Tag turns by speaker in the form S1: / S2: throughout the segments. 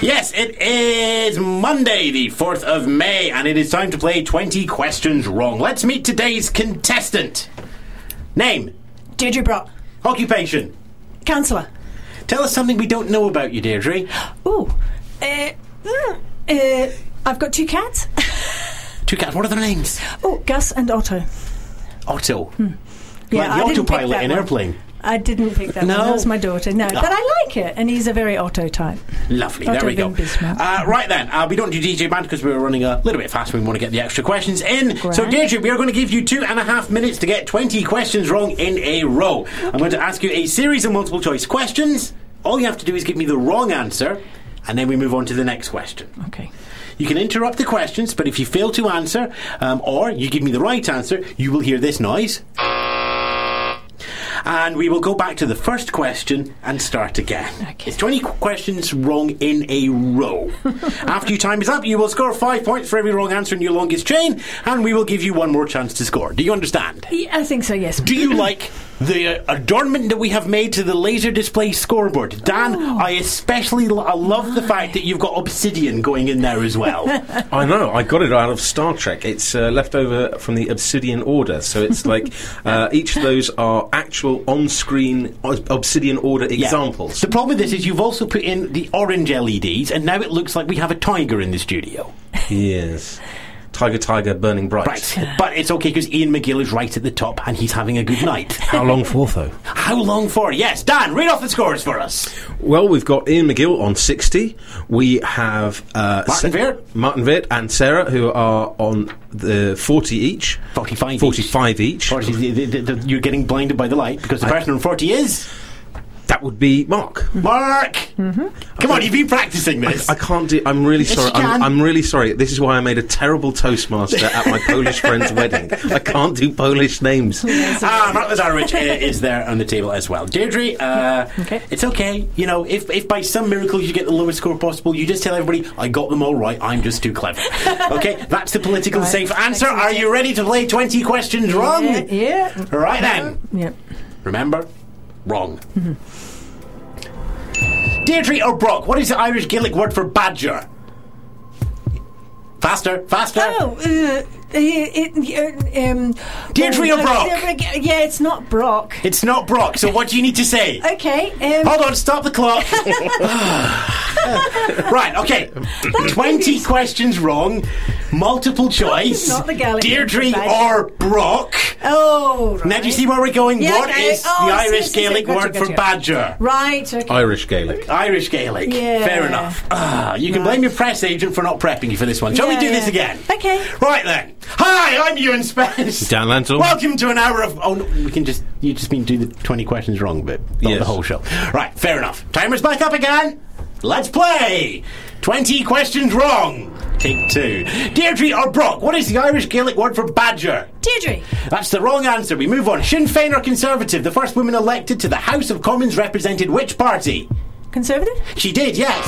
S1: Yes, it is Monday, the 4th of May, and it is time to play 20 questions wrong. Let's meet today's contestant. Name,
S2: Deirdre Brock,
S1: occupation.
S2: councillor.
S1: Tell us something we don't know about you, Deirdre.
S2: Ooh, uh, mm, uh, I've got two cats.
S1: Two cats, what are their names?
S2: Oh, Gus and Otto.
S1: Otto.
S2: Hmm. Yeah,
S1: like the
S2: I didn't pick
S1: autopilot
S2: that
S1: in
S2: one.
S1: airplane.
S2: I didn't pick that.
S1: No. Ah.
S2: one. that was my daughter. No, but I like it, and he's a very Otto type.
S1: Lovely,
S2: Otto
S1: there we go.
S2: von Bismarck.
S1: Uh, right then, uh, we don't do DJ Band because we were running a little bit fast. We want to get the extra questions in. So,
S2: Grand.
S1: Deirdre, we are going to give you two and a half minutes to get 20 questions wrong in a row. I'm going to ask you a series of multiple choice questions. All you have to do is give me the wrong answer, and then we move on to the next question.
S2: Okay.
S1: You can interrupt the questions, but if you fail to answer, um, or you give me the right answer, you will hear this noise. And we will go back to the first question and start again.
S2: Okay.
S1: It's 20 qu- questions wrong in a row. After your time is up, you will score five points for every wrong answer in your longest chain, and we will give you one more chance to score. Do you understand?
S2: Yeah, I think so. Yes.
S1: Do you like the uh, adornment that we have made to the laser display scoreboard? Dan, I especially l- I love the fact that you've got obsidian going in there as well.
S3: I know. I got it out of Star Trek. It's uh, left over from the Obsidian Order, so it's like uh, each of those are actual on-screen Ob- Obsidian Order
S1: Yeah.
S3: examples.
S1: The problem with this is you've also put in the orange LEDs, and now it looks like we have a tiger in the studio.
S3: Yes. Tiger, tiger, burning bright.
S1: Right, but it's okay because Ian McGill is right at the top, and he's having a good night.
S3: How long for, though?
S1: How long for? Yes, Dan, read off the scores for us.
S3: Well, we've got Ian McGill on 60. We have uh,
S1: Martin
S3: Sa-
S1: Veer.
S3: Martin Veer and Sarah, who are on the 40 each.
S1: 45 each.
S3: 45 each.
S1: Or is it- the- the- the- you're getting blinded by the light because the person on forty is
S3: That would be Mark.
S1: Mark. Come on, you've been practicing this.
S3: I can't do. I'm really
S1: Yes,
S3: sorry.
S1: you can.
S3: I'm, I'm really sorry. This is why I made a terrible toastmaster at my Polish friend's wedding. I can't do Polish names.
S1: Ah, Mark Lazarevich uh, is there on the table as well. Deirdre, uh,
S2: Okay.
S1: it's okay. You know, if, if by some miracle you get the lowest score possible, you just tell everybody, I got them all right, I'm just too clever. okay, that's the political
S2: Right.
S1: safe answer.
S2: Excellent.
S1: Are you ready to play 20 questions wrong?
S2: Yeah. Yeah.
S1: Right then.
S2: yeah.
S1: Remember, wrong.
S2: Mm-hmm.
S1: Deirdre or Brock, what is the Irish Gaelic word for badger? Faster, faster.
S2: Oh, uh, it, it, uh, um,
S1: Deirdre
S2: oh,
S1: or Brock?
S2: Yeah, it's not Brock.
S1: It's not Brock, so what do you need to say?
S2: Okay. Um,
S1: Hold on, stop the clock. right, okay. 20 questions wrong, multiple choice.
S2: not the Gaelic
S1: Deirdre
S2: word for
S1: or Brock.
S2: oh. Right.
S1: Now, do you see where we're going?
S2: Yeah,
S1: what
S2: Gaelic.
S1: is
S2: Oh,
S1: the
S2: I
S1: Irish
S2: see, I see, I see.
S1: Gaelic
S2: Gotcha,
S1: word for
S2: gotcha.
S1: badger?
S2: Right. Okay.
S3: Irish Gaelic.
S1: Irish Gaelic.
S2: Yeah.
S1: Fair enough. Ah, you can
S2: Right.
S1: blame your press agent for not prepping you for this one. Shall we
S2: Yeah,
S1: do this
S2: yeah.
S1: again?
S2: Okay.
S1: Right then. Hi, I'm Ewan Spence.
S3: Dan Lantle.
S1: Welcome to an hour of. Oh, no, we can just. You just mean do the 20 questions wrong, but not
S3: Yes.
S1: the whole show. Right, fair enough. Timer's back up again. Let's play. 20 questions wrong. Take two. Deirdre or Brock, what is the Irish Gaelic word for badger?
S2: Deirdre.
S1: That's the wrong answer. We move on. Sinn Féin or Conservative? The first woman elected to the House of Commons represented which party?
S2: Conservative.
S1: She did, yes.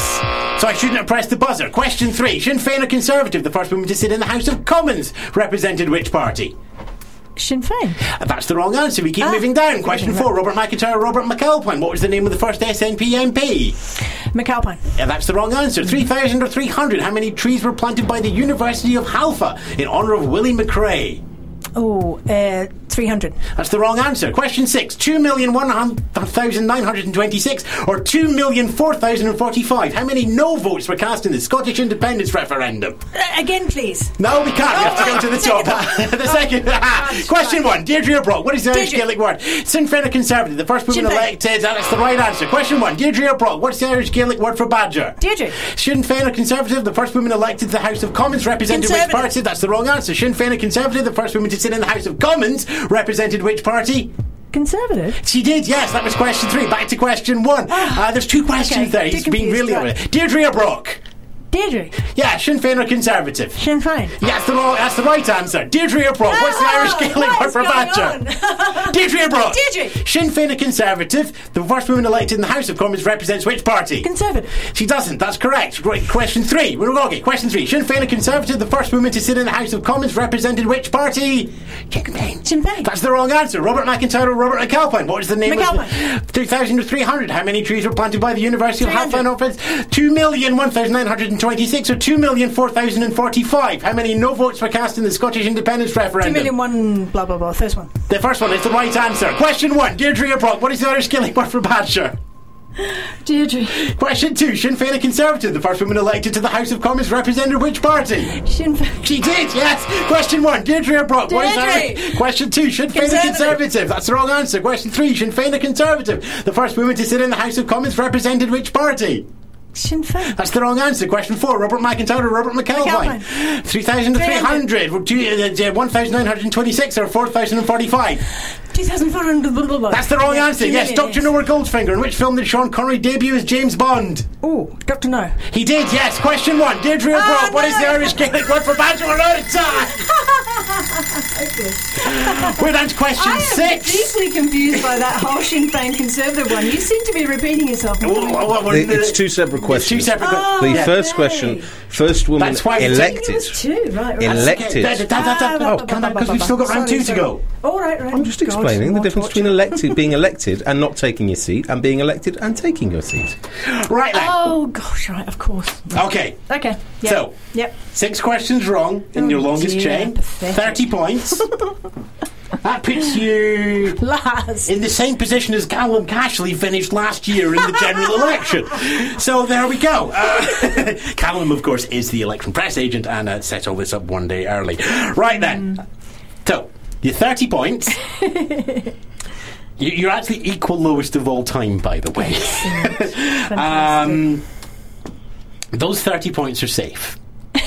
S1: So I shouldn't have pressed the buzzer. Question three. Sinn Féin or Conservative? The first woman to sit in the House of Commons represented which party?
S2: Sinn Féin.
S1: Uh, That's the wrong answer. We keep
S2: Ah.
S1: moving down. Question
S2: Okay,
S1: four. Robert McIntyre, Robert McAlpine. What was the name of the first SNP MP?
S2: McAlpine.
S1: Uh, that's the wrong answer. 3,000 or 300. How many trees were planted by the University of Halfa in honour of Willie McRae?
S2: Oh, uh, 300.
S1: That's the wrong answer. Question six. 2,100,926 or 2,004,045. How many no votes were cast in the Scottish independence referendum?
S2: Uh, again, please.
S1: No, we can't. we have to
S2: Oh,
S1: go to the
S2: take
S1: top.
S2: it back.
S1: the second. Ah, Question one. Deirdre O'Brock. What is the Irish
S2: Deirdre.
S1: Gaelic word? Sinn Féin or Conservative? The first woman
S2: Sinn Féin.
S1: elected. That's the right answer. Question one. Deirdre O'Brock. What's the Irish Gaelic word for badger?
S2: Deirdre.
S1: Sinn Féin or Conservative? The first woman elected to the House of Commons represented which
S2: Conservative.
S1: party? That's the wrong answer. Sinn Féin or Conservative? The first woman to sit in the House of Commons represented which party?
S2: Conservative.
S1: She did, yes. That was question three. Back to question one. Uh, there's two questions
S2: Ah. Okay,
S1: there. He's
S2: too
S1: being
S2: confused,
S1: really over
S2: right.
S1: it. Deirdre O'Brock.
S2: Deirdre.
S1: Yeah, Sinn Féin or Conservative?
S2: Sinn Féin.
S1: Yes, the wrong, that's the right answer. Deirdre O'Brock. What's the
S2: Oh,
S1: Irish Gaelic
S2: what
S1: word
S2: is
S1: for
S2: going
S1: badger?
S2: on?
S1: Deirdre Brock.
S2: Deirdre.
S1: Sinn Féin a Conservative. The first woman elected in the House of Commons represents which party?
S2: Conservative.
S1: She doesn't. That's correct. Right, question three. We're okay. Question three. Sinn Féin a Conservative, the first woman to sit in the House of Commons, represented which party? Sinn Féin.
S2: Sinn Féin.
S1: That's the wrong answer. Robert McIntyre or Robert McAlpine. What is the name of
S2: McAlpine.
S1: the 2,300? How many trees were planted by the University of Halfland Office? 2,001,926 or 2,004,045. How many no votes were cast in the Scottish independence
S2: Two
S1: referendum?
S2: million one, blah, blah, blah. First one.
S1: The first one is the right answer. Question one. Deirdre O'Brock, what is the Irish Gaelic word for badger?
S2: Deirdre.
S1: Question two. Sinn Féin a Conservative, the first woman elected to the House of Commons represented which party?
S2: Sinn Féin.
S1: She did, yes. Question one, Deirdre Brock. What is
S2: Deirdre.
S1: that? Question two, Sinn Féin a
S2: Conservative.
S1: Conservative. That's the wrong answer. Question three, Sinn Féin a Conservative. The first woman to sit in the House of Commons represented which party?
S2: Sinn Féin.
S1: That's the wrong answer. Question four, Robert McIntyre or Robert McAlpine? 3,300. Well, two- uh, uh, 1,926 or 4,045.
S2: 2,400, blah, blah, blah.
S1: That's the wrong answer.
S2: Two
S1: Yes,
S2: million,
S1: Dr. Nowhere Goldfinger. In which film did Sean Connery debut as James Bond?
S2: Oh, Dr. No.
S1: He did, yes. Question one, Deirdre Brock. What is the
S2: Ah, no.
S1: Irish Gaelic word for bachelor? We're out of time. We're down to question
S4: I am
S1: six.
S4: deeply confused by that whole Sinn Féin Conservative one. You seem to be repeating yourself.
S2: Oh,
S1: Well, well, well, we're-
S3: It's two separate questions.
S1: two separate.
S3: The
S1: Oh, yeah.
S3: first
S4: okay.
S3: question, first woman
S1: That's why we take-
S4: It
S3: elected.
S4: was two, right? right.
S3: Elect-
S1: Okay, da- da- da- da- da-
S2: Ah,
S1: oh, come on, because we've still got round two
S2: sorry,
S1: to
S2: sorry.
S1: go.
S4: All right, right.
S3: I'm just explaining the difference between elected, being elected and not taking your seat, and being elected and taking your seat.
S1: Right then.
S2: Oh, gosh, right, of course.
S1: Okay,
S2: Okay. Yep.
S1: So-
S2: Yep.
S1: six questions wrong in your longest
S2: Oh, dear,
S1: chain.
S2: pathetic.
S1: Thirty points. that puts you
S2: Last.
S1: in the same position as Callum Cashley finished last year in the general election. So there we go. Uh, Callum, of course, is the election press agent and uh, set all this up one day early. Right then. So, you're 30 points. You- You're actually equal lowest of all time, by the way. um, those 30 points are safe.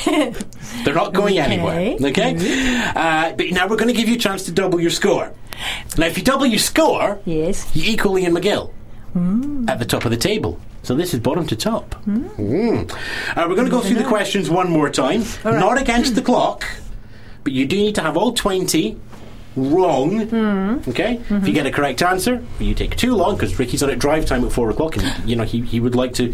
S1: They're not going anywhere. Okay? Uh, but now we're going to give you a chance to double your score. Now, if you double your score,
S2: Yes.
S1: you equal Ian McGill at the top of the table. So this is bottom to top. Mm. Uh, we're going to go through the questions one more time. Not against the clock, but you do need to have all 20 wrong.
S2: Hmm.
S1: Okay? If
S2: Mm-hmm.
S1: you get a correct answer, you take too long because Ricky's on at drive time at 4 o'clock and, you know, he, he would like to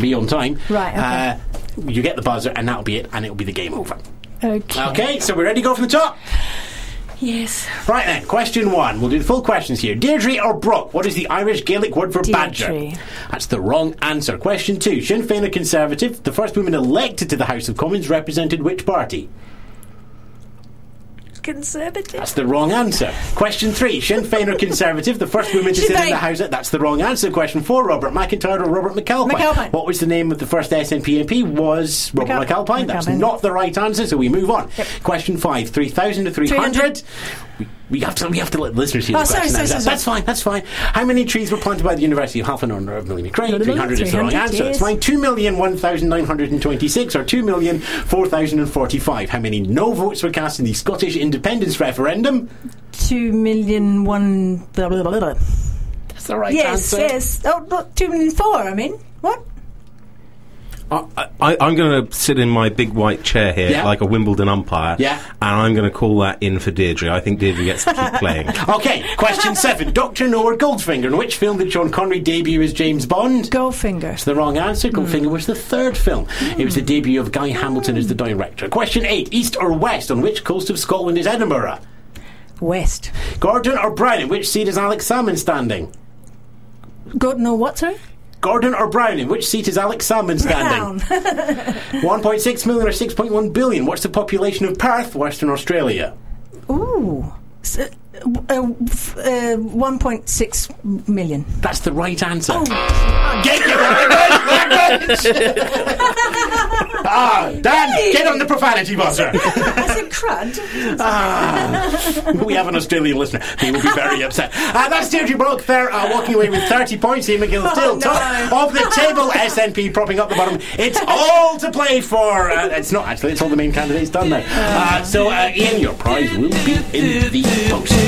S1: be on time.
S2: Right, okay.
S1: Uh, you get the buzzer and that'll be it and it'll be the game over.
S2: Okay.
S1: Okay, so we're ready to go from the top?
S2: Yes.
S1: Right then, question one. We'll do the full questions here. Deirdre or Brock, what is the Irish Gaelic word for badger?
S2: Deirdre.
S1: That's the wrong answer. Question two. Sinn Féin a Conservative, the first woman elected to the House of Commons, represented which party?
S2: Conservative.
S1: That's the wrong answer. Question three. Sinn Féin or Conservative, the first woman to
S2: Sinn
S1: sit in the
S2: Féin.
S1: House. That's the wrong answer. Question four. Robert McIntyre or Robert McAlpine?
S2: McAlpine.
S1: What was the name of the first SNP MP? Was Robert
S2: McAl-
S1: McAlpine. That's
S2: McAlpine.
S1: not the right answer, so we move on. Question five. 3,000 to 300.
S2: 300.
S1: We- We have, to, we have to let the listeners hear
S2: Oh,
S1: the
S2: sorry,
S1: question.
S2: sorry,
S1: That's-
S2: sorry,
S1: that's fine, that's fine. How many trees were planted by the University of Half an Hour of Millie McCray? 300 is the wrong
S2: 300,
S1: answer. It's
S2: yes.
S1: fine. 2,001,926 or 2,004,045. How many no votes were cast in the Scottish independence referendum?
S2: Two million one. Blah, blah, blah, blah.
S1: That's the right
S2: Yes, yes. Oh, look, two million four. I mean, what?
S3: I, I, I'm going to sit in my big white chair here,
S1: Yeah.
S3: like a Wimbledon umpire,
S1: Yeah.
S3: and I'm going to call that in for Deirdre. I think Deirdre gets to keep playing.
S1: Okay, question seven. Doctor No or Goldfinger? In which film did Sean Connery debut as James Bond?
S2: Goldfinger.
S1: the wrong answer.
S2: Hmm.
S1: Goldfinger was the third film. It was the debut of Guy Hamilton as the director. Question eight. East or west? On which coast of Scotland is Edinburgh?
S2: West.
S1: Gordon or Brown? In which seat is Alex Salmon standing?
S2: Gordon or what, sorry?
S1: Gordon or Brown? In which seat is Alex Salmon standing?
S2: Down.
S1: 1.6 million or 6.1 billion? What's the population of Perth, Western Australia?
S2: Ooh. S- uh, uh, f- uh, 1.6 million.
S1: That's the right answer. Ah,
S2: Oh.
S1: Get your language! ah, Dan, get on the profanity buzzer.
S2: I said crud.
S1: we have an Australian listener. They will be very upset. Uh, that's Deirdre Brock there, uh, walking away with 30 points. Ian McGill still
S2: Oh, no.
S1: top of the table. SNP propping up the bottom. It's all to play for. Uh, it's not actually, it's all the main candidates done now. Uh, so, uh, Ian, your prize will be in the post.